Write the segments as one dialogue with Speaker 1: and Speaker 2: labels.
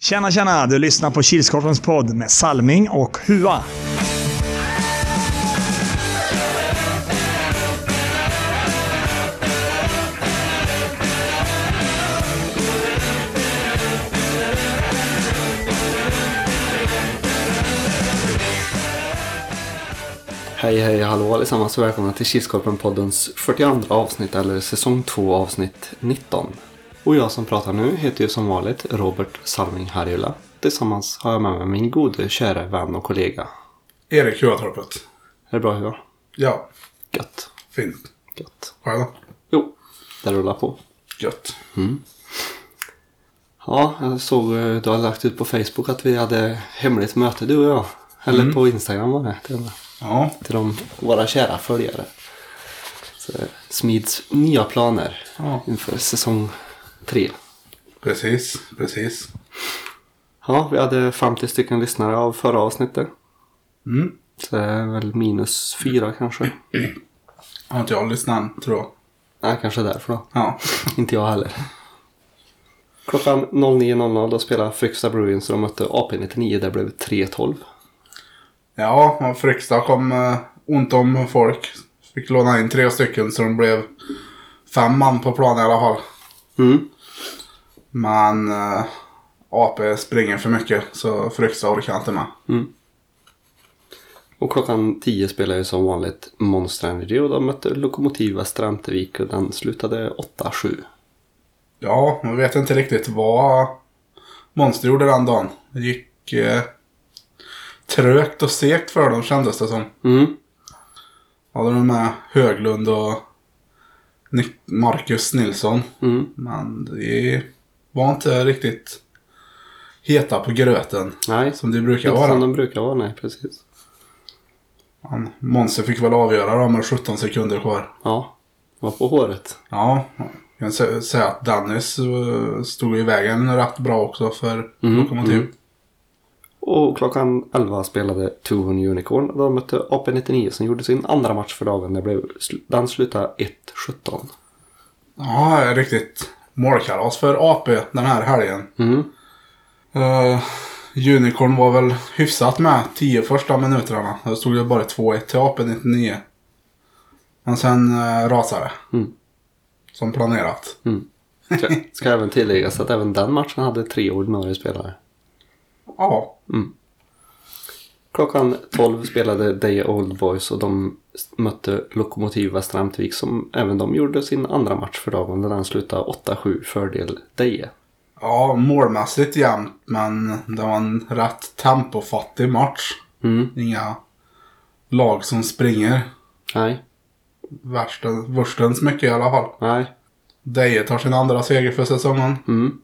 Speaker 1: Tjena, tjena! Du lyssnar på Kilskorpens podd med Salming och Hua.
Speaker 2: Hej, hej, hallå allesammans och välkomna till Kilskorpen-poddens 42 avsnitt eller säsong 2 avsnitt 19. Och jag som pratar nu heter ju som vanligt Robert Salming Harjula. Tillsammans har jag med mig min gode, kära vän och kollega.
Speaker 3: Erik Huatorpet.
Speaker 2: Är det bra Hua?
Speaker 3: Ja,
Speaker 2: Gött.
Speaker 3: fint.
Speaker 2: Gött.
Speaker 3: Själv
Speaker 2: Jo, det rullar på.
Speaker 3: Gött.
Speaker 2: Ja, jag såg eh, du hade lagt ut på Facebook att vi hade hemligt möte du och jag. Eller på Instagram var det. till och med.
Speaker 3: Ja,
Speaker 2: Till de, våra kära följare. Så det smids nya planer
Speaker 3: Ja.
Speaker 2: inför säsong 3.
Speaker 3: precis. Precis.
Speaker 2: Ja, vi hade 50 stycken lyssnare av förra avsnittet.
Speaker 3: Mm.
Speaker 2: Så det är väl minus fyra kanske.
Speaker 3: Har inte jag lyssnat än, tror jag.
Speaker 2: Nej, kanske därför då.
Speaker 3: Ja.
Speaker 2: Inte jag heller. Klockan 09.00 då spelade Fryksta Bruins och de mötte AP-99. Det blev 3-12.
Speaker 3: Ja, och Fryksta kom eh, ont om folk. Fick låna in tre stycken så de blev fem man på plan i alla fall.
Speaker 2: Mm.
Speaker 3: Men eh, AP springer för mycket så Fryksta orkar inte med.
Speaker 2: Och klockan 10 spelade ju som vanligt Monster Energy och de mötte Lokomotiv Västra Ämtervik och den slutade 8-7.
Speaker 3: Ja, man vet inte riktigt vad Monster gjorde den dagen. Det gick eh, trögt och segt för dem kändes det som.
Speaker 2: Mm.
Speaker 3: hade de med Höglund och Ni- Marcus Nilsson.
Speaker 2: Mm.
Speaker 3: Men de var inte riktigt heta på gröten
Speaker 2: Nej,
Speaker 3: som de brukar
Speaker 2: inte som
Speaker 3: vara.
Speaker 2: de brukar vara. Nej, precis.
Speaker 3: Han, Monster fick väl avgöra då med 17 sekunder kvar.
Speaker 2: Ja, var på håret.
Speaker 3: Ja, jag kan sä- säga att Dennis eh, stod i vägen rätt bra också för
Speaker 2: Mm.
Speaker 3: Lokomotiv.
Speaker 2: Och klockan 11 spelade Tuven Unicorn. och De mötte AP-99 som gjorde sin andra match för dagen. Det blev, sl- den slutade 1-17.
Speaker 3: Ja, riktigt målkalas för AP den här helgen.
Speaker 2: Mm.
Speaker 3: Eh, Unicorn var väl hyfsat med 10 första minuterna. Då stod det bara 2-1 till AP 99. Men sen uh, rasade det.
Speaker 2: Mm.
Speaker 3: Som planerat.
Speaker 2: Ska, ska även tilläggas att även den matchen hade tre ordinarie spelare.
Speaker 3: Ja.
Speaker 2: Klockan 12 spelade Day Old Boys och de s- mötte Lokomotiv Västra Hamtvik som även de gjorde sin andra match för dagen. Där den slutade 8-7 fördel Deje.
Speaker 3: Ja, målmässigt jämnt men det var en rätt tempofattig match.
Speaker 2: Mm.
Speaker 3: Inga lag som springer
Speaker 2: Nej,
Speaker 3: värsten- värstens mycket i alla fall.
Speaker 2: nej.
Speaker 3: Deje tar sin andra seger för säsongen.
Speaker 2: Mm.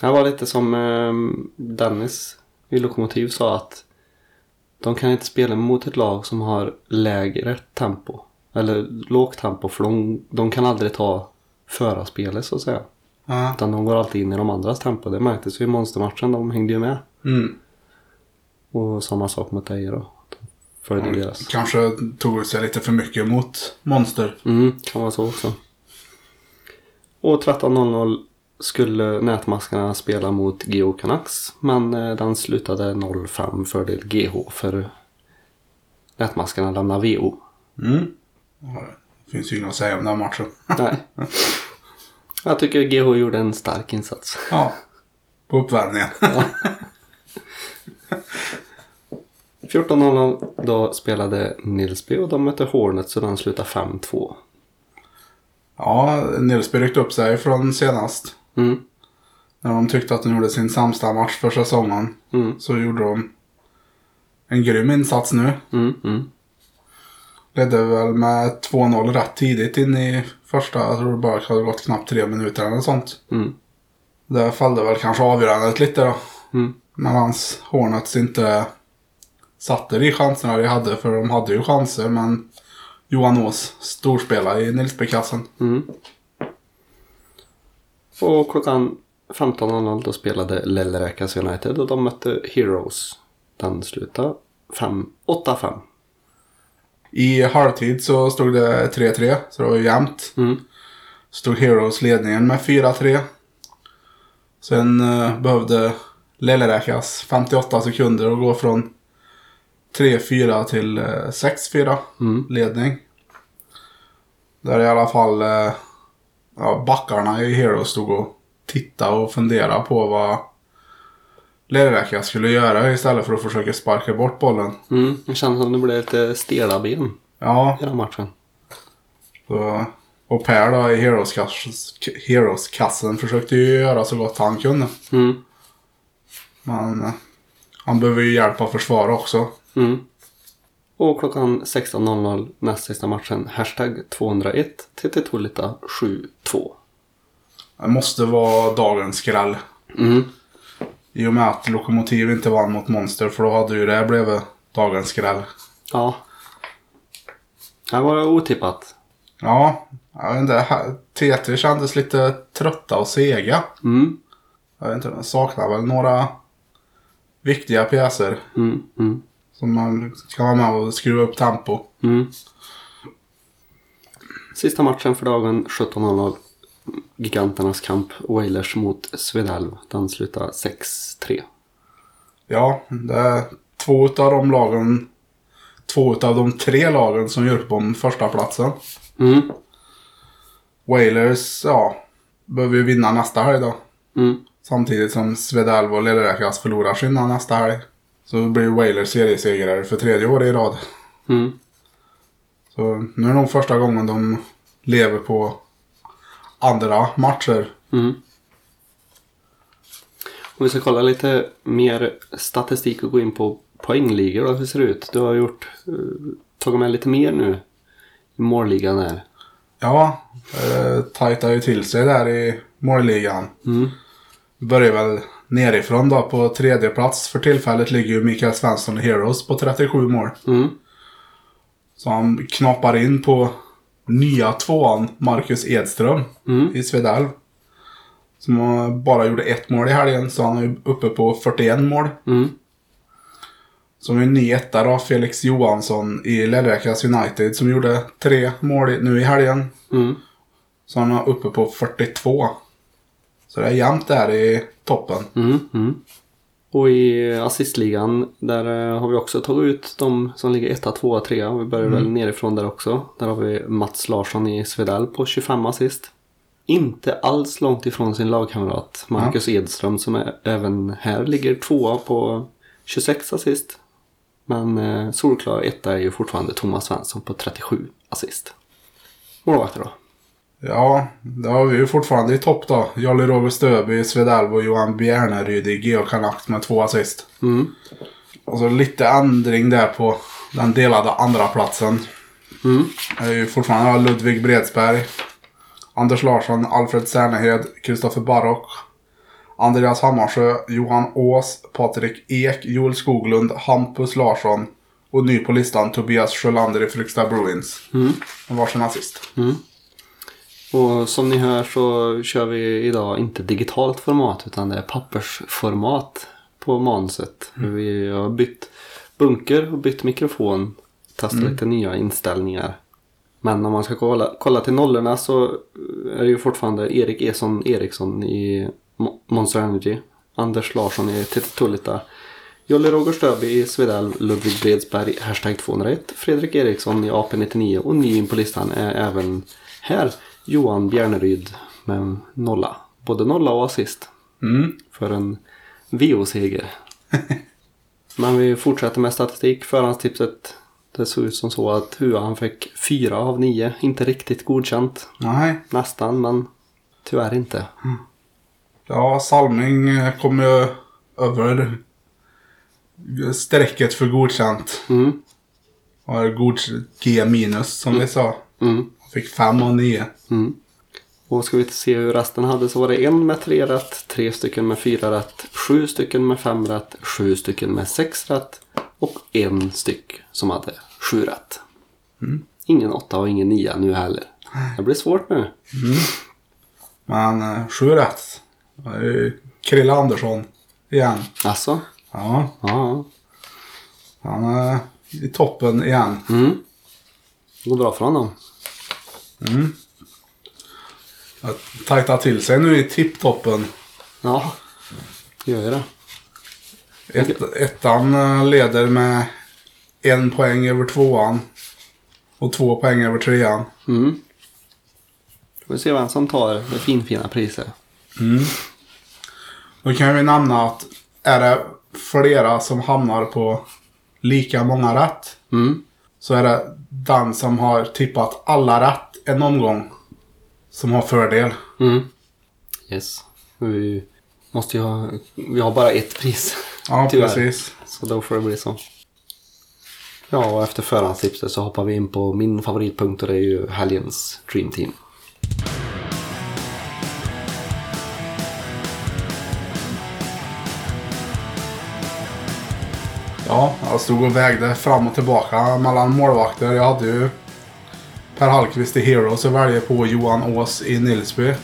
Speaker 2: Det var lite som eh, Dennis i Lokomotiv sa att de kan inte spela mot ett lag som har lägre tempo. Eller lågt tempo för de, de kan aldrig ta förarspelet så att säga.
Speaker 3: Ja.
Speaker 2: Utan de går alltid in i de andras tempo. Det märktes ju i monstermatchen. De hängde ju med.
Speaker 3: Mm.
Speaker 2: Och samma sak mot dig då. De Följde deras.
Speaker 3: Kanske tog sig lite för mycket mot Monster.
Speaker 2: Mm, kan vara så också. Och 13.00 skulle nätmaskarna spela mot GH Canucks. Men eh, den slutade 0-5 fördel GH för nätmaskarna lämnar VO.
Speaker 3: Mm. Ja, det finns ju inget att säga om den matchen.
Speaker 2: Nej. Jag tycker GH gjorde en stark insats.
Speaker 3: Ja. På uppvärmningen.
Speaker 2: 14.00 då spelade Nilsby och de mötte Hornet så den slutade 5-2.
Speaker 3: Ja, Nilsby ryckte upp sig från senast.
Speaker 2: Mm.
Speaker 3: När de tyckte att de gjorde sin sämsta match för säsongen.
Speaker 2: Mm.
Speaker 3: Så gjorde de en grym insats nu.
Speaker 2: Mm, mm.
Speaker 3: Ledde väl med 2-0 rätt tidigt in i första. Jag tror det bara hade gått knappt tre minuter eller något sånt.
Speaker 2: Mm.
Speaker 3: Där fällde väl kanske avgörandet lite då.
Speaker 2: Mm.
Speaker 3: Medans Hornets inte satte de chanserna de hade. För de hade ju chanser men Johan Ås storspelade i Nilsbyklassen.
Speaker 2: Mm. Och klockan 15.00 då spelade Lellräkas United och de mötte Heroes. Den slutade fem- 8-5.
Speaker 3: I halvtid så stod det 3-3, så det var ju jämnt.
Speaker 2: Mm.
Speaker 3: Stod Heroes ledningen med 4-3. Sen eh, behövde Leleräkas 58 sekunder och gå från 3-4 till eh, 6-4
Speaker 2: Mm.
Speaker 3: ledning. Där i alla fall eh, ja, backarna i Hero stod och tittade och funderade på vad Leleräkas skulle göra istället för att försöka sparka bort bollen.
Speaker 2: Mm. Det känns som det blev lite stela ben
Speaker 3: Ja,
Speaker 2: i den matchen.
Speaker 3: Så, och Per då i Heroes-kass- Heroes-kassen försökte ju göra så gott han kunde.
Speaker 2: Mm.
Speaker 3: Men eh, han behöver ju hjälp av försvara också.
Speaker 2: Mm. Och klockan 16.00 näst sista matchen. Hashtag 201 TT Tolita 72.
Speaker 3: Det måste vara dagens skräll.
Speaker 2: Mm.
Speaker 3: I och med att Lokomotiv inte vann mot Monster för då hade ju det här blivit dagens skräll.
Speaker 2: Ja. Det var otippat.
Speaker 3: Ja, jag vet inte. här- TT kändes lite trötta och sega.
Speaker 2: Mm.
Speaker 3: Jag vet inte, de saknar väl några viktiga pjäser
Speaker 2: Mm. Mm.
Speaker 3: som man kan vara med och skruva upp tempo.
Speaker 2: Mm. Sista matchen för dagen 17.00. Giganternas kamp. Wailers mot Svedalv. Den slutar 6-3.
Speaker 3: Ja, det är två utav de lagen. Två utav de tre lagen som gör upp om första platsen.
Speaker 2: Mm.
Speaker 3: Wailers, ja, behöver ju vinna nästa helg då.
Speaker 2: Mm.
Speaker 3: Samtidigt som Svedalv och Lilleräkas förlorar sina nästa helg. Så blir Wailers seriesegrare för tredje året i rad.
Speaker 2: Mm.
Speaker 3: Så nu är det nog första gången de lever på andra matcher.
Speaker 2: Mm. Om vi ska kolla lite mer statistik och gå in på poängligor då, hur ser det ut? Du har gjort, eh, tagit med lite mer nu i målligan där.
Speaker 3: Ja, eh, tajtar ju till sig där i målligan.
Speaker 2: Mm.
Speaker 3: börjar väl nerifrån då. På tredje plats för tillfället ligger ju Mikael Svensson i Heroes på 37 mål.
Speaker 2: Mm.
Speaker 3: Så han knappar in på nya tvåan Marcus Edström
Speaker 2: Mm.
Speaker 3: i Svedalv. Som eh, bara gjorde ett mål i helgen så han är ju uppe på 41 mål.
Speaker 2: Mm.
Speaker 3: Som är en ny etta då, Felix Johansson i Lillräkas United som gjorde tre mål i- nu i helgen.
Speaker 2: Mm.
Speaker 3: Så han är uppe på 42. Så det är jämnt där i toppen.
Speaker 2: Mm. Mm. Och i eh, assistligan där eh, har vi också tagit ut de som ligger etta, tvåa, trea. Vi börjar väl nerifrån där också. Där har vi Mats Larsson i Svedal på 25 assist. Inte alls långt ifrån sin lagkamrat Marcus Edström som är, även här ligger tvåa på 26 assist. Men eh, solklar etta är ju fortfarande Thomas Svensson på 37 assist. Målvakter då?
Speaker 3: Ja, det har vi ju fortfarande i topp då. Jolly Roger Stöby, Svedalv och Johan Bjärneryd i GH Canucks med två assist.
Speaker 2: Mm.
Speaker 3: Och så lite ändring där på den delade andra platsen.
Speaker 2: Mm.
Speaker 3: Det är ju fortfarande ja, Ludvig Bredsberg, Anders Larsson, Alfred Sernehed, Kristoffer Barrock, Andreas Hammarsjö, Johan Ås, Patrik Ek, Joel Skoglund, Hampus Larsson och ny på listan Tobias Sjölander i Fryksta Bruins.
Speaker 2: Mm.
Speaker 3: Med varsin assist.
Speaker 2: Och som ni hör så kör vi idag inte digitalt format utan det är pappersformat på manuset. Vi har bytt bunker och bytt mikrofon. Testat lite nya inställningar. Men om man ska kolla, kolla till nollorna så är det ju fortfarande Erik Eson Eriksson i Mo- Monster Energy. Anders Larsson i TT Tullita. Jolle Roger Stöby i Svedell, Ludvig Bredsberg, hashtag 201, Fredrik Eriksson i AP99 och ny in på listan är även här Johan Bjärneryd med nolla. Både nolla och assist
Speaker 3: Mm.
Speaker 2: för en VO-seger. Men vi fortsätter med statistik. Förhandstipset. Det såg ut som så att Hua han fick fyra av nio. Inte riktigt godkänt.
Speaker 3: Nej.
Speaker 2: Nästan, men tyvärr inte.
Speaker 3: Ja, Salming eh, kom ju över strecket för godkänt.
Speaker 2: Mm,
Speaker 3: Har godkänt G minus som vi sa.
Speaker 2: mm,
Speaker 3: Fick 5 och 9.
Speaker 2: mm. Och ska vi se hur resten hade så var det en med tre rätt, tre stycken med fyra rätt, sju stycken med fem rätt, sju stycken med sex rätt och en styck som hade sju rätt.
Speaker 3: Mm.
Speaker 2: Ingen åtta och ingen nia nu heller. Det blir svårt nu.
Speaker 3: Men eh, 7 rätt. Det är ju Krille Andersson igen.
Speaker 2: Alltså?
Speaker 3: Ja,
Speaker 2: Ja.
Speaker 3: han är i toppen igen.
Speaker 2: Mm. Det går bra för honom.
Speaker 3: Jag tajtar till sig nu i tipptoppen.
Speaker 2: Ja, gör ju det.
Speaker 3: Ett, ettan eh, leder med en poäng över tvåan. Och två poäng över trean.
Speaker 2: Mm. Får vi se vem som tar det finfina priset.
Speaker 3: Då kan vi nämna att är det flera som hamnar på lika många rätt.
Speaker 2: Mm.
Speaker 3: Så är det den som har tippat alla rätt en omgång. Som har fördel.
Speaker 2: Mm. Yes. Vi måste ju ha... Vi har bara ett pris.
Speaker 3: Ja,
Speaker 2: Tyvärr.
Speaker 3: precis.
Speaker 2: Så då får det bli så. Ja, och efter förhandstipset så hoppar vi in på min favoritpunkt och det är ju helgens Dream Team.
Speaker 3: Ja, jag stod och vägde fram och tillbaka mellan målvakter. Jag hade ju Per Hallqvist i Heroes och väljer på Johan Ås i Nilsby.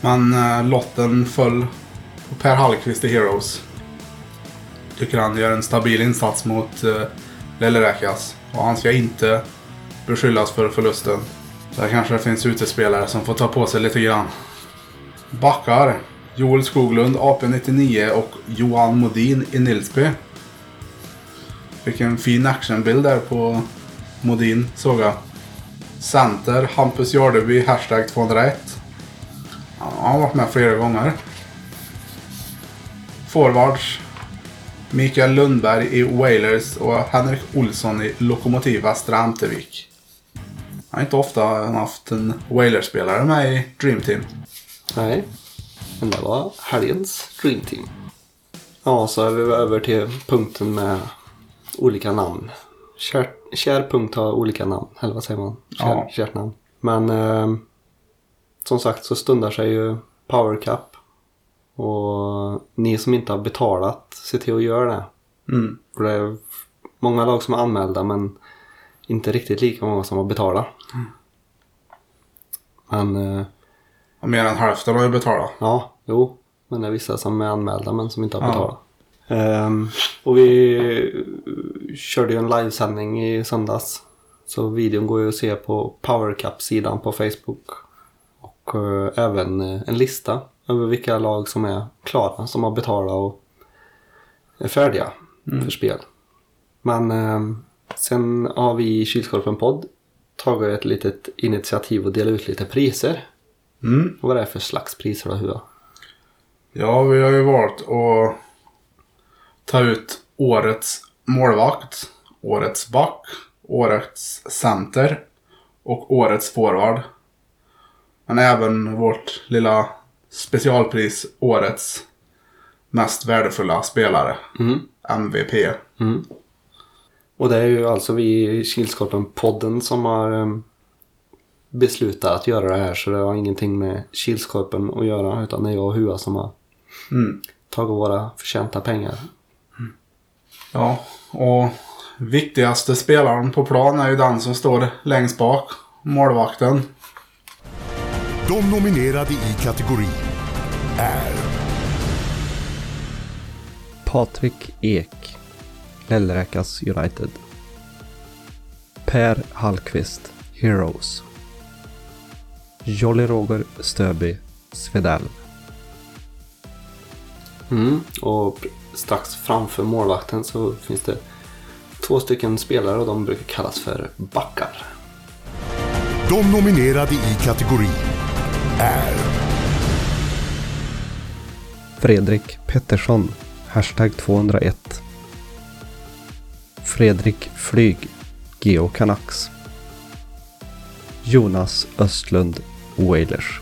Speaker 3: Men eh, lotten föll på Per Hallqvist i Heroes. Tycker han gör en stabil insats mot eh, Leleräkas. Och han ska inte beskyllas för förlusten. Där kanske det finns utespelare som får ta på sig lite grann. Backar. Joel Skoglund, AP99 och Johan Modin i Nilsby. Vilken fin actionbild där på Modin såg jag. Center, Hampus Jardeby, hashtag 201. Ja, han har varit med flera gånger. Forwards, Mikael Lundberg i Wailers och Henrik Olsson i Lokomotiv Västra Ämtervik. Jag har inte ofta haft en Wailers-spelare med i Dream Team.
Speaker 2: Nej, men det var helgens Dream Team. Ja, så är vi över till punkten med olika namn. Kär, kär punkt har olika namn, eller vad säger man? Kär,
Speaker 3: Ja.
Speaker 2: Kärt namn. Men eh, som sagt så stundar sig ju Power Cup. Och ni som inte har betalat, se till att göra det.
Speaker 3: Mm.
Speaker 2: För det är många lag som är anmälda men inte riktigt lika många som har betalat.
Speaker 3: Mm.
Speaker 2: Men eh,
Speaker 3: Och mer än hälften har ju betalat.
Speaker 2: Ja, jo. Men det är vissa som är anmälda men som inte har
Speaker 3: Ja.
Speaker 2: betalat. Ehm, och vi eh, körde ju en livesändning i söndags. Så videon går ju att se på Power Cup-sidan på Facebook. Och eh, även eh, en lista över vilka lag som är klara, som har betalat och är färdiga för spel. Men ehm, sen har vi i Kylskorpen podd tagit ett litet initiativ och delat ut lite priser.
Speaker 3: Mm.
Speaker 2: Och vad är det för slags priser då, Hua?
Speaker 3: Ja, vi har ju valt att ta ut årets målvakt, årets back, årets center och årets forward. Men även vårt lilla specialpris, årets mest värdefulla spelare,
Speaker 2: Mm.
Speaker 3: MVP.
Speaker 2: Och det är ju alltså vi i Kilskorpen-podden som har em, beslutat att göra det här så det har ingenting med Kilskorpen att göra utan det är jag och Hua som har
Speaker 3: Mm.
Speaker 2: tagit våra förtjänta pengar.
Speaker 3: Ja, och viktigaste spelaren på plan är ju den som står längst bak, målvakten.
Speaker 4: De nominerade i kategorin är
Speaker 5: Patrik Ek, Lillräkas United. Per Hallqvist, Heroes. Jolly Roger Stöby, Svedell.
Speaker 2: Mm. Och pr- strax framför målvakten så finns det två stycken spelare och de brukar kallas för backar.
Speaker 4: De nominerade i kategorin är
Speaker 5: Fredrik Pettersson, hashtag 201. Fredrik Flyg, Geo Canucks. Jonas Östlund, Wailers.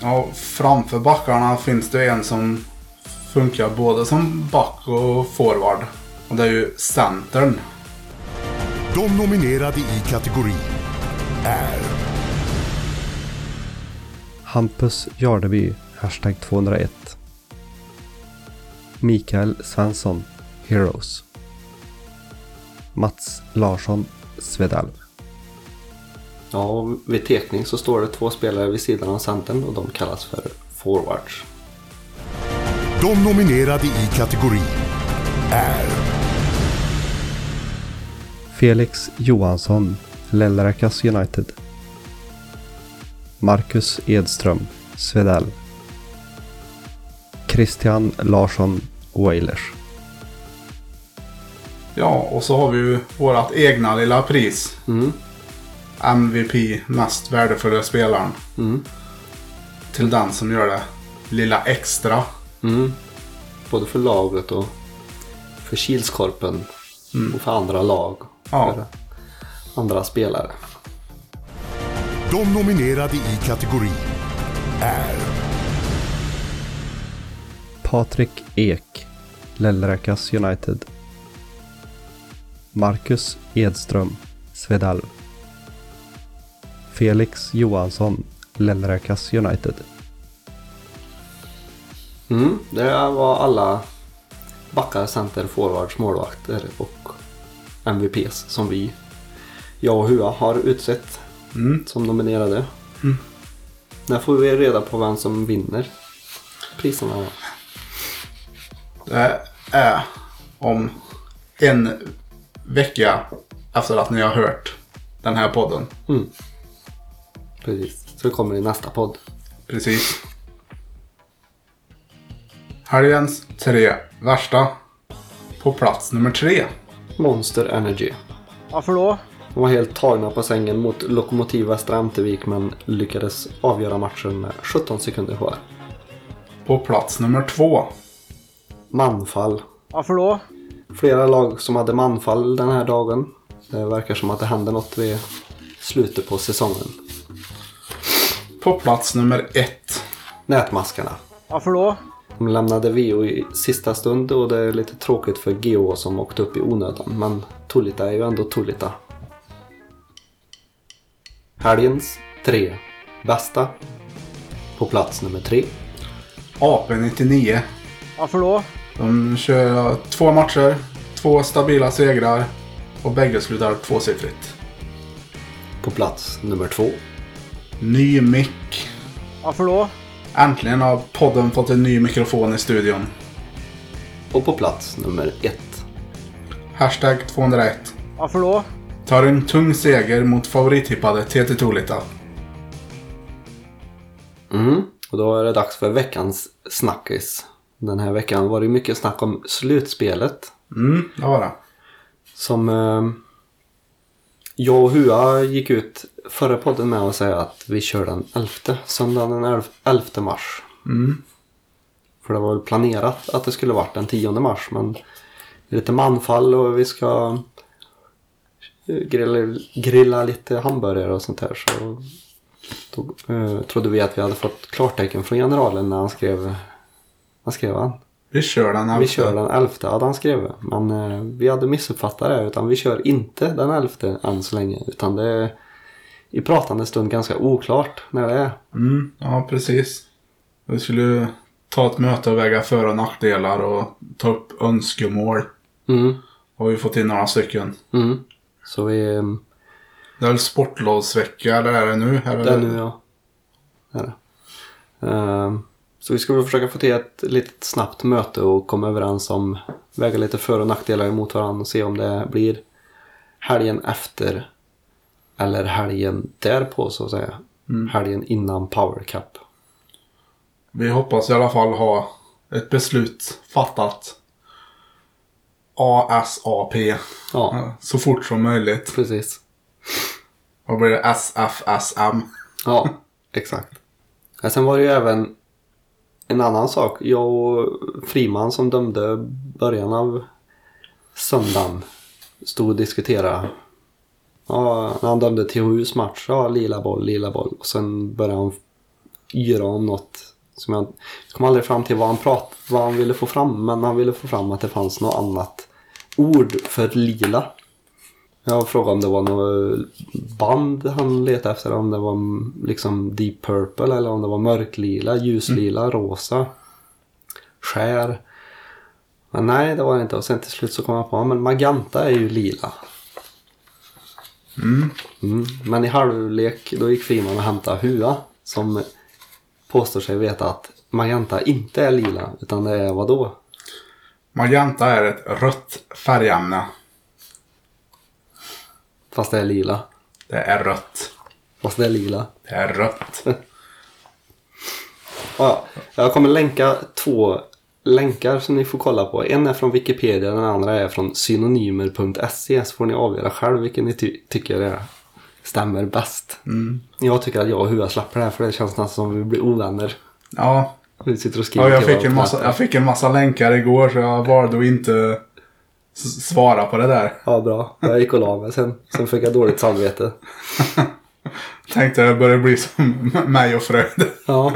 Speaker 3: Ja, framför backarna finns det en som funkar både som back och forward. Och det är ju centern.
Speaker 4: De nominerade i kategorin är
Speaker 5: Hampus Jardeby, hashtag 201. Mikael Svensson, Heroes. Mats Larsson, Svedalv.
Speaker 2: Ja, och vid tekning så står det två spelare vid sidan av centern och de kallas för forwards.
Speaker 4: De nominerade i kategorin är
Speaker 5: Felix Johansson, Lellrakas United. Marcus Edström, Svedell. Christian Larsson Wailers.
Speaker 3: Ja, och så har vi ju vårt egna lilla pris.
Speaker 2: Mm.
Speaker 3: MVP, mest värdefulla spelaren.
Speaker 2: Mm.
Speaker 3: Till den som gör det lilla extra.
Speaker 2: Mm. Både för laget och för Kilskorpen
Speaker 6: Mm.
Speaker 2: och för andra lag.
Speaker 3: Ja.
Speaker 2: För andra spelare.
Speaker 4: De nominerade i kategori är
Speaker 5: Patrik Ek, Lellräkas United. Marcus Edström, Svedalv. Felix Johansson, Lellräkas United.
Speaker 2: Mm. Det var alla backar, center, forwards, målvakter och MVPs som vi, jag och Hua, har utsett som nominerade. När får vi reda på vem som vinner priserna? då?
Speaker 3: Det är om en vecka efter att ni har hört den här podden.
Speaker 2: Precis. Så det kommer i nästa podd.
Speaker 3: Precis. Helgens tre värsta. På plats nummer tre.
Speaker 2: Monster Energy.
Speaker 6: Varför då?
Speaker 2: De var helt tagna på sängen mot Lokomotiv Västra Ämtervik men lyckades avgöra matchen med 17 sekunder kvar.
Speaker 3: På plats nummer två.
Speaker 2: Manfall.
Speaker 6: Varför då?
Speaker 2: Flera lag som hade manfall den här dagen. Det verkar som att det hände något vid slutet på säsongen.
Speaker 3: På plats nummer ett.
Speaker 2: Nätmaskarna.
Speaker 6: Varför då?
Speaker 2: De lämnade VO i sista stund och det är lite tråkigt för GH som åkte upp i onödan. Men Tullita är ju ändå Tullita. Helgens tre bästa. På plats nummer tre.
Speaker 3: AP99.
Speaker 6: Varför då?
Speaker 3: De kör två matcher, två stabila segrar och bägge slutar tvåsiffrigt.
Speaker 2: På plats nummer två.
Speaker 3: Ny mick.
Speaker 6: Varför då?
Speaker 3: Äntligen har podden fått en ny mikrofon i studion.
Speaker 2: Och på plats nummer ett.
Speaker 3: Hashtag 201.
Speaker 6: Varför då?
Speaker 3: Tar en tung seger mot favorittippade TT Tolita.
Speaker 2: Mm. Och då är det dags för veckans snackis. Den här veckan var det ju mycket snack om slutspelet.
Speaker 3: Mm, det var det.
Speaker 2: Som eh, jag och Hua gick ut förra podden med att säga att vi kör den 11. Söndagen den 11 mars. För det var väl planerat att det skulle varit den 10 mars. Men det är lite manfall och vi ska eh, grilla, grilla lite hamburgare och sånt här. Så då, eh, trodde vi att vi hade fått klartecken från generalen när han skrev. Vad skrev han?
Speaker 3: Vi kör den här.
Speaker 2: Vi kör den 11 hade han skrivit. Men eh, vi hade missuppfattat det. Utan vi kör inte den 11 än så länge. Utan det är i pratande stund ganska oklart när det är.
Speaker 3: Mm, ja, precis. Vi skulle ta ett möte och väga för och nackdelar och ta upp önskemål.
Speaker 2: Mm,
Speaker 3: Har vi fått in några stycken.
Speaker 2: mm. Så vi... eh,
Speaker 3: Det är väl sportlovsvecka, eller är det nu? Eller?
Speaker 2: Det är nu ja. Det är det. Eh, Så vi ska väl försöka få till ett litet snabbt möte och komma överens om väga lite för och nackdelar emot varandra och se om det blir helgen efter eller helgen därpå så att säga. Helgen innan Power Cup.
Speaker 3: Vi hoppas i alla fall ha ett beslut fattat. ASAP.
Speaker 2: Ja,
Speaker 3: Ja, Så fort som möjligt.
Speaker 2: precis.
Speaker 3: Vad blir det? SFSM.
Speaker 2: Ja, exakt. Ja, Sen var det ju även en annan sak. Jag och Friman som dömde början av söndagen stod och diskuterade. Ja, när han dömde THUs match, ja, lila boll, lila boll. Och sen började han yra om något som jag jag kom aldrig fram till vad han, prat, vad han ville få fram. Men han ville få fram att det fanns något annat ord för lila. Jag frågade om det var något band han letade efter. Om det var liksom Deep Purple eller om det var mörklila, ljuslila, rosa, skär. Men nej, det var det inte. Och sen till slut så kom jag på ja, men magenta är ju lila. Mm. Men i halvlek då gick Friman och hämtade Hua som påstår sig veta att magenta inte är lila utan det är vadå?
Speaker 3: Magenta är ett rött färgämne.
Speaker 2: Fast det är lila.
Speaker 3: Det är rött.
Speaker 2: Fast det är lila.
Speaker 3: Det är rött.
Speaker 2: Ja, jag kommer länka två länkar som ni får kolla på. En är från Wikipedia, den andra är från synonymer.se. E. Så får ni avgöra själv vilken ni ty- tycker är, stämmer bäst.
Speaker 3: Mm.
Speaker 2: Jag tycker att jag och Hua släpper det här för det känns nästan som att vi blir ovänner.
Speaker 3: Ja,
Speaker 2: Vi sitter och skriver
Speaker 3: ja jag,
Speaker 2: till
Speaker 3: fick en
Speaker 2: varandra.
Speaker 3: massa, jag fick en massa länkar igår så jag valde att inte s- svara på det där.
Speaker 2: Ja, bra. Jag gick och la mig sen. Sen fick jag dåligt samvete.
Speaker 3: Tänkte det började bli som mig och Fröjd.
Speaker 2: Ja.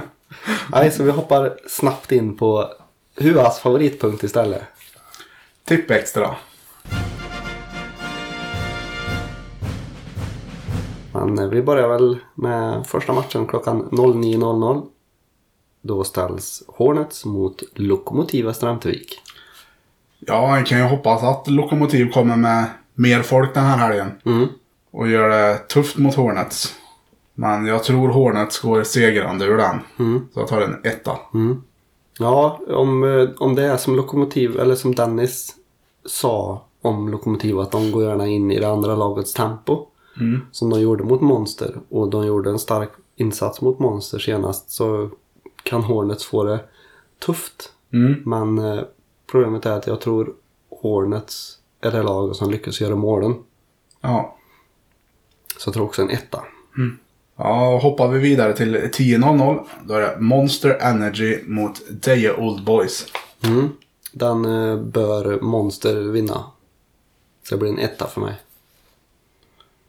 Speaker 2: Nej, så vi hoppar snabbt in på Huas favoritpunkt istället.
Speaker 3: Tipp Typ extra.
Speaker 2: Men eh, vi börjar väl med första matchen klockan 09.00. Då ställs Hornets mot Lokomotiva Strömtvik.
Speaker 3: Ja, man kan ju hoppas att Lokomotiv kommer med mer folk den här helgen.
Speaker 2: Mm.
Speaker 3: Och gör det tufft mot Hornets. Men jag tror Hornets går segrande ur den. Så jag tar en etta.
Speaker 2: Ja, om, eh, om det är som Lokomotiv, eller som Dennis sa om Lokomotiv, att de går gärna in i det andra lagets tempo. Som de gjorde mot Monster. Och de gjorde en stark insats mot Monster senast. Så kan Hornets få det tufft. Men eh, problemet är att jag tror Hornets är det lag som lyckas göra målen.
Speaker 3: Ja.
Speaker 2: Så jag tror också en etta.
Speaker 3: Ja, hoppar vi vidare till 10.00. Då är det Monster Energy mot Deje Old Boys.
Speaker 2: Mm. Den eh, bör Monster vinna. Så det blir en etta för mig.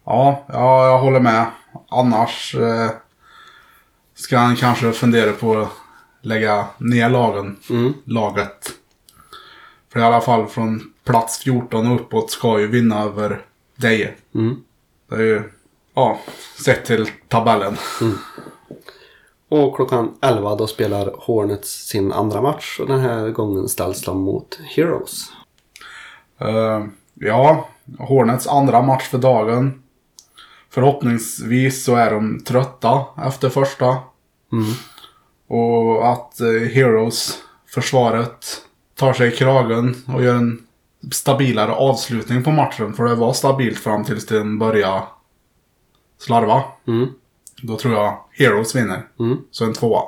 Speaker 3: Ja, ja jag håller med. Annars eh, ska han kanske fundera på att lägga ner lagen,
Speaker 2: Mm.
Speaker 3: laget. För i alla fall från plats 14 och uppåt ska ju vinna över Deje.
Speaker 2: Mm.
Speaker 3: Det är ju, ja, sett till tabellen.
Speaker 2: Mm. Och klockan 11 då spelar Hornets sin andra match och den här gången ställs de mot Heroes.
Speaker 3: Eh, ja, Hornets andra match för dagen. Förhoppningsvis så är de trötta efter första.
Speaker 2: Mm.
Speaker 3: Och att eh, Heroes, försvaret, tar sig i kragen och gör en stabilare avslutning på matchen. För det var stabilt fram tills den började slarva.
Speaker 2: Mm.
Speaker 3: Då tror jag Heroes vinner.
Speaker 2: Mm.
Speaker 3: Så en tvåa.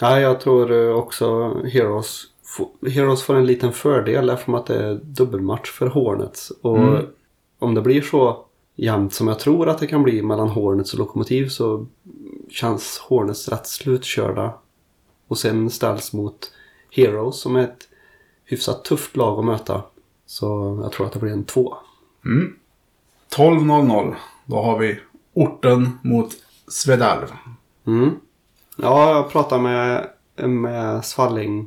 Speaker 2: Ja, jag tror eh, också Heroes, få- Heroes får en liten fördel eftersom att det är dubbelmatch för Hornets. Och om det blir så jämnt som jag tror att det kan bli mellan Hornets och Lokomotiv så känns Hornets rätt slutkörda. Och sen ställs mot Heroes som är ett hyfsat tufft lag att möta. Så jag tror att det blir en två.
Speaker 3: 12.00. Då har vi orten mot Svedalv.
Speaker 2: Mm. Ja, jag pratade med, med Svalling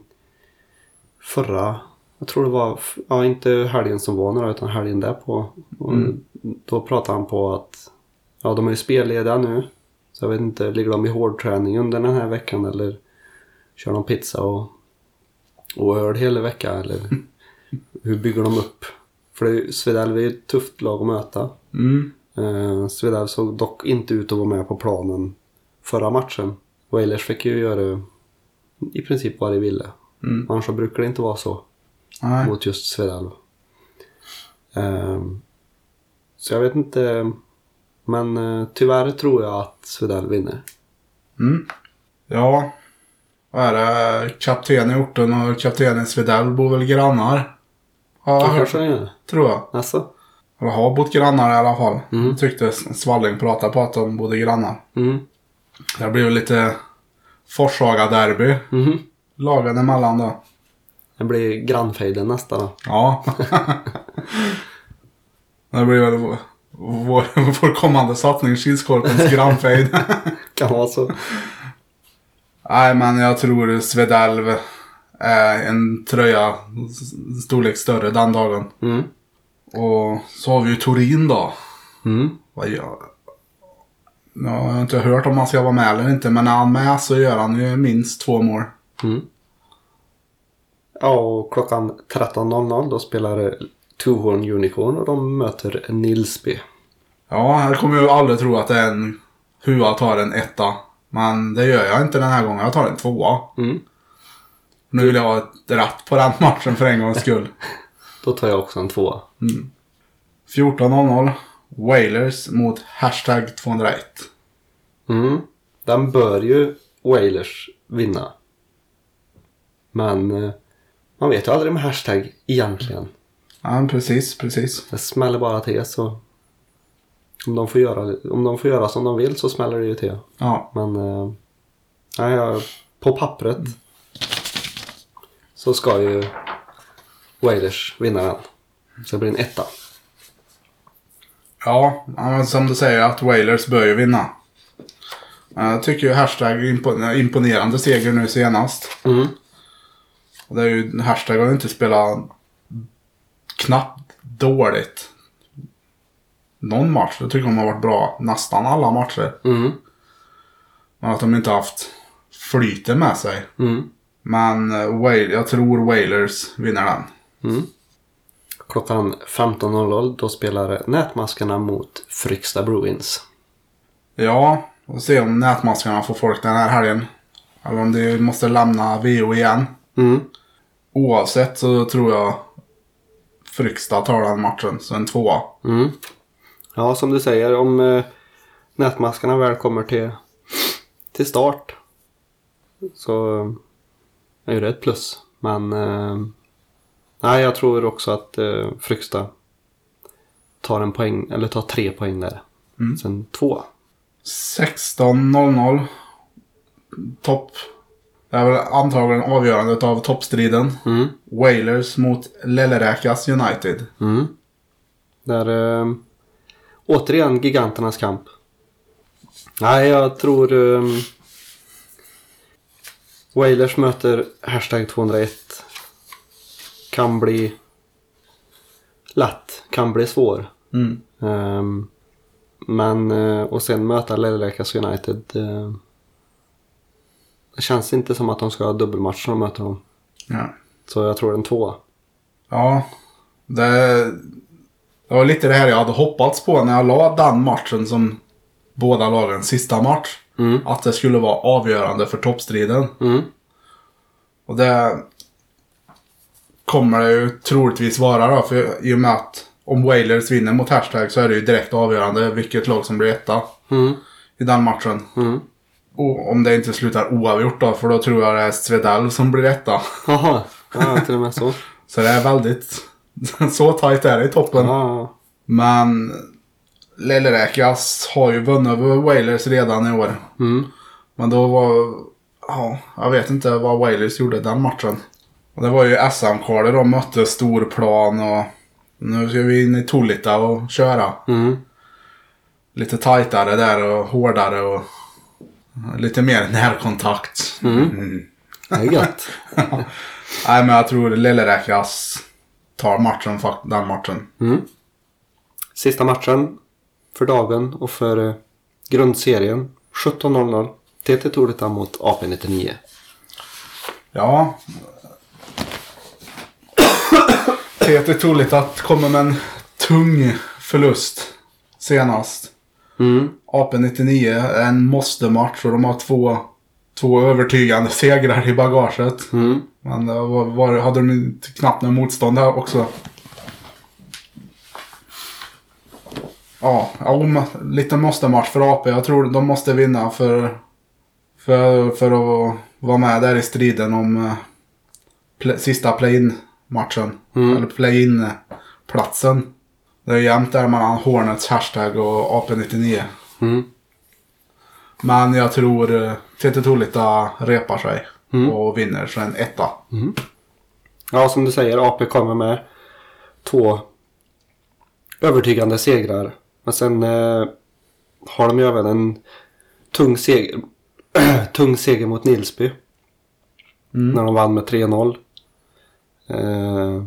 Speaker 2: förra, jag tror det var, f- ja inte helgen som var nu då, utan helgen därpå. Och Då pratade han på att, ja de är ju spellediga nu. Så jag vet inte, ligger de i hårdträning under den här veckan eller kör de pizza och, och öl hela veckan eller hur bygger de upp? För det är ju- Svedalv är ju ett tufft lag att möta.
Speaker 3: Mm.
Speaker 2: Eh, Svedalv såg dock inte ut att vara med på planen förra matchen. Wailers fick ju göra i princip vad de ville. Mm. Annars så brukar det inte vara så
Speaker 3: Nej.
Speaker 2: mot just Svedalv. Ehm, så jag vet inte. Men eh, tyvärr tror jag att Svedalv vinner.
Speaker 3: Ja. Vad är det? Kapten i orten och kapten i Svedell bor väl grannar? Ja, jag
Speaker 2: Ja,
Speaker 3: har hört
Speaker 2: kanske
Speaker 3: det.
Speaker 2: han gör.
Speaker 3: Tror jag.
Speaker 2: Alltså?
Speaker 3: Eller har bott grannar i alla fall. Jag tyckte Svalling pratade på att de bodde grannar.
Speaker 2: Mm.
Speaker 3: Det blev lite Forshaga-derby.
Speaker 2: Mhm.
Speaker 3: Lagen emellan då.
Speaker 2: Det blir grannfejden nästa då.
Speaker 3: Ja. det blir väl vår, vår, vår kommande satsning, Kilskorpens grannfejd.
Speaker 2: Kan vara så.
Speaker 3: Nej, men jag tror Svedalv är en tröja s- storlek större den dagen.
Speaker 2: Mm.
Speaker 3: Och så har vi ju Torin då.
Speaker 2: Mm.
Speaker 3: Vad gör... Jag har inte hört om han ska vara med eller inte, men när han är med så gör han ju minst två mål.
Speaker 2: Ja, och klockan 13.00 då spelar Tuhorn Unicorn och de möter Nilsby.
Speaker 3: Ja, här kommer jag ju aldrig tro att det är en Hua tar en etta. Men det gör jag inte den här gången. Jag tar en tvåa.
Speaker 2: Mm.
Speaker 3: Nu vill jag ha ett ratt på den matchen för en gångs skull.
Speaker 2: Då tar jag också en tvåa.
Speaker 3: 14.00 Wailers mot hashtag 201.
Speaker 2: Mm. Den bör ju Wailers vinna. Men eh, man vet ju aldrig med hashtag egentligen.
Speaker 3: Ja, men precis, precis.
Speaker 2: Det smäller bara till så. Om de får göra, om de får göra som de vill så smäller det ju till.
Speaker 3: Ja,
Speaker 2: Men eh, nej, jag, på pappret så ska ju Wailers vinna den. Så det blir en etta.
Speaker 3: ja ja, men som du säger att Wailers bör ju vinna. Jag tycker ju hashtag impo- imponerande seger nu senast.
Speaker 2: Mm.
Speaker 3: Och det är ju, hashtag har ju inte spelat knappt dåligt. Någon match. Jag tycker de har varit bra nästan alla matcher.
Speaker 2: Mm.
Speaker 3: Men att de inte haft flytet med sig.
Speaker 2: Mm.
Speaker 3: Men eh, Wail- jag tror Wailers vinner den.
Speaker 2: Klockan 15.00 då spelar Nätmaskarna mot Fryksta Bruins.
Speaker 3: Ja, och se om nätmaskarna får folk den här helgen. Eller om de måste lämna VO igen.
Speaker 2: Mm.
Speaker 3: Oavsett så tror jag Frykstad tar den matchen. Så en tvåa.
Speaker 2: Mm. Ja, som du säger, om eh, Nätmaskarna väl kommer till, till start så eh, är ju det ett plus. Men eh, nej, jag tror också att eh, Fryksta tar en poäng, eller tar tre poäng där. Sen två.
Speaker 3: 16.00. Topp. Det är väl antagligen avgörandet av toppstriden.
Speaker 2: Mm.
Speaker 3: Wailers mot Lelleräkas United.
Speaker 2: Mm. Där, eh, återigen giganternas kamp. Nej, jag tror... Eh, Wailers möter hashtag 201. Kan bli lätt, kan bli svår.
Speaker 3: Mm.
Speaker 2: Ehm, men, eh, och sen möta Lillerekas United. Eh, det känns inte som att de ska ha dubbelmatch när de möter dem.
Speaker 3: Ja.
Speaker 2: Så jag tror en tvåa.
Speaker 3: ja. Det, det var lite det här jag hade hoppats på när jag la den matchen som båda lagens sista match.
Speaker 2: Mm.
Speaker 3: Att det skulle vara avgörande för toppstriden.
Speaker 2: Mm.
Speaker 3: Och det kommer det ju troligtvis vara då. För I och med att om Wailers vinner mot Hashtag så är det ju direkt avgörande vilket lag som blir etta
Speaker 2: Mm.
Speaker 3: i den matchen.
Speaker 2: Mm.
Speaker 3: Och om det inte slutar oavgjort då, för då tror jag det är Svedal som blir etta.
Speaker 2: Jaha, ja, till och med så.
Speaker 3: Så det är väldigt... så tajt är det i toppen.
Speaker 2: Ja,
Speaker 3: Men Lilleräkas har ju vunnit över Wailers redan i år.
Speaker 2: Mm.
Speaker 3: Men då var... Ja, jag vet inte vad Wailers gjorde den matchen. Och det var ju SM-kvalet de mötte storplan och... Nu ska vi in i Tolita och köra.
Speaker 2: Mm.
Speaker 3: Lite tajtare där och hårdare och... Lite mer närkontakt. Mm.
Speaker 2: det är gött.
Speaker 3: Nej, men jag tror Lilleräkas tar matchen, fak- den matchen.
Speaker 2: Sista matchen för dagen och för eh, grundserien. 17.00. TT Torlita mot AP99.
Speaker 3: Ja. TT Tolita kommer med en tung förlust senast.
Speaker 2: Mm.
Speaker 3: AP-99 är en måste-match och de har två, två övertygande segrar i bagaget.
Speaker 2: Mm.
Speaker 3: Men det var, var, hade de inte knappt någon motstånd där också. Ja, ja, om- lite måste-match för AP. Jag tror de måste vinna för, för, för att vara med där i striden om eh, pl- sista play-in-matchen. Eller play-in-platsen. Det är jämnt där mellan Hornets hashtag och AP-99.
Speaker 2: Mm.
Speaker 3: Men jag tror eh, TT Tolita repar sig och vinner, så en etta.
Speaker 2: Ja, som du säger, AP kommer med två övertygande segrar. Men sen eh, har de ju även en tung seger, tung seger mot Nilsby. När de vann med 3-0. Eh,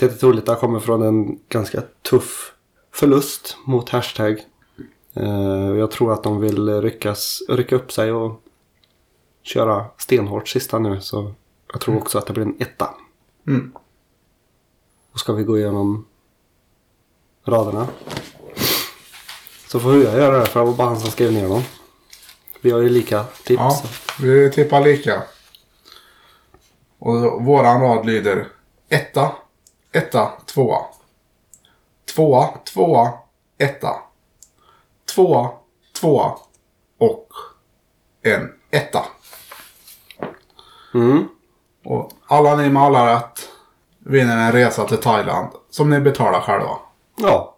Speaker 2: TT Torlita kommer från en ganska tuff förlust mot Hashtag. Eh, och jag tror att de vill ryckas, rycka upp sig och köra stenhårt sista nu. Så jag tror också att det blir en etta. Och ska vi gå igenom raderna. Så får jag göra det för det var bara han som skrev ner dem. Vi har ju lika tips.
Speaker 3: Ja, vi tippar lika. Och våran rad lyder etta, etta, tvåa. Tvåa, tvåa, etta. Tvåa, tvåa och en etta.
Speaker 2: Mm.
Speaker 3: Och alla ni med alla rätt vinner en resa till Thailand som ni betalar själva.
Speaker 2: Ja.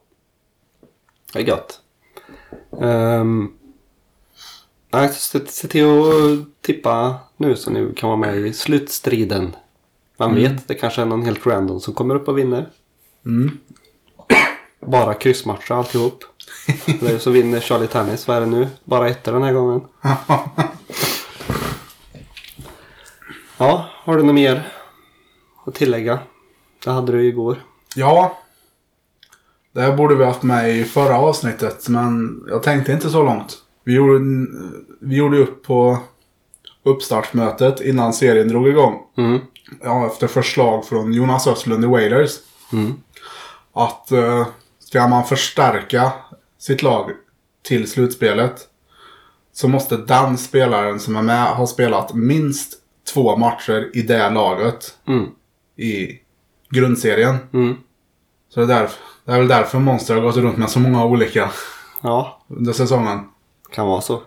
Speaker 2: Det är gött. Ehm, nej, så se, se till att eh, tippa nu så ni kan vara med i slutstriden. Man vet, det kanske är någon helt random som kommer upp och vinner. Bara kryssmatcher alltihop. Eller så vinner Charlie Tennis, vad är det nu? Bara ettor den här gången. ja, har du något mer att tillägga? Det hade du ju igår.
Speaker 3: Ja. Det här borde vi haft med i förra avsnittet men jag tänkte inte så långt. Vi gjorde, vi gjorde upp på uppstartsmötet innan serien drog igång.
Speaker 2: Mm.
Speaker 3: ja, efter förslag från Jonas Östlund i Wailers.
Speaker 2: Mm.
Speaker 3: Att eh, ska man förstärka sitt lag till slutspelet så måste den spelaren som är med ha spelat minst två matcher i det laget
Speaker 2: Mm.
Speaker 3: i grundserien.
Speaker 2: Mm.
Speaker 3: Så det är, därför, det är väl därför Monster har gått runt med så många olika
Speaker 2: Ja,
Speaker 3: under säsongen.
Speaker 2: kan vara så.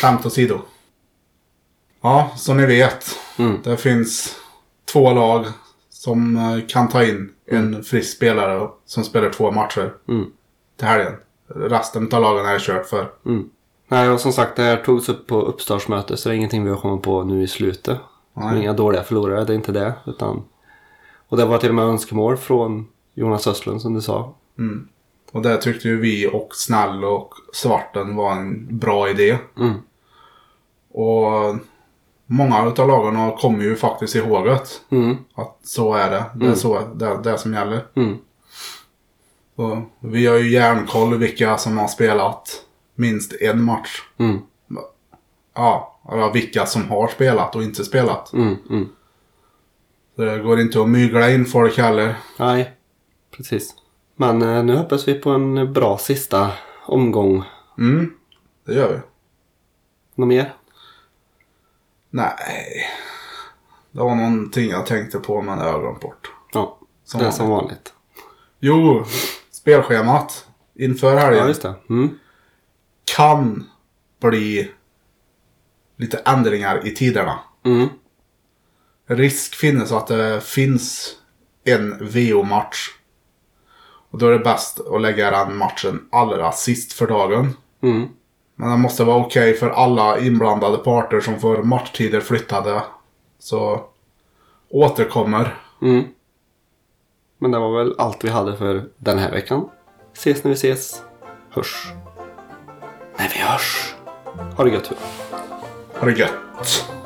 Speaker 3: Skämt åsido. Ja, som ni vet.
Speaker 2: Mm.
Speaker 3: Det finns två lag som eh, kan ta in en frisk spelare som spelar två matcher
Speaker 2: Mm.
Speaker 3: till helgen. Resten av lagen är kört för.
Speaker 2: Nej, och som sagt, det här togs upp på uppstartsmötet så det är ingenting vi har kommit på nu i slutet.
Speaker 3: Nej.
Speaker 2: Inga dåliga förlorare, det är inte det. Utan... Och det var till och med önskemål från Jonas Östlund som du sa.
Speaker 3: Och det tyckte ju vi och Snäll och Svarten var en bra idé.
Speaker 2: Mm.
Speaker 3: Och många av lagarna kommer ju faktiskt ihåg att,
Speaker 2: Mm.
Speaker 3: att så är det. Det är så, det, är det som gäller.
Speaker 2: Mm.
Speaker 3: Så vi har ju järnkoll vilka som har spelat minst en match.
Speaker 2: Mm.
Speaker 3: Ja, eller vilka som har spelat och inte spelat.
Speaker 2: Mm. Mm.
Speaker 3: Så det går inte att mygla in folk heller.
Speaker 2: Nej, precis. Men eh, nu hoppas vi på en bra sista omgång.
Speaker 3: Mm, det gör vi.
Speaker 2: Något mer?
Speaker 3: Nej. Det var någonting jag tänkte på men det har jag glömt bort.
Speaker 2: Ja,
Speaker 3: Som
Speaker 2: det är
Speaker 3: vanligt.
Speaker 2: som vanligt.
Speaker 3: Jo, spelschemat inför
Speaker 2: Ja,
Speaker 3: helgen
Speaker 2: just det. Mm.
Speaker 3: kan bli lite ändringar i tiderna.
Speaker 2: Mm.
Speaker 3: Risk finns att det finns en VO-match. Och då är det bäst att lägga den matchen allra sist för dagen.
Speaker 2: Mm.
Speaker 3: Men det måste vara okej för alla inblandade parter som får matchtider flyttade. Så återkommer.
Speaker 2: Mm. Men det var väl allt vi hade för den här veckan. Ses när vi ses. Hörs. När vi hörs. Ha det gött.
Speaker 3: Ha det gött!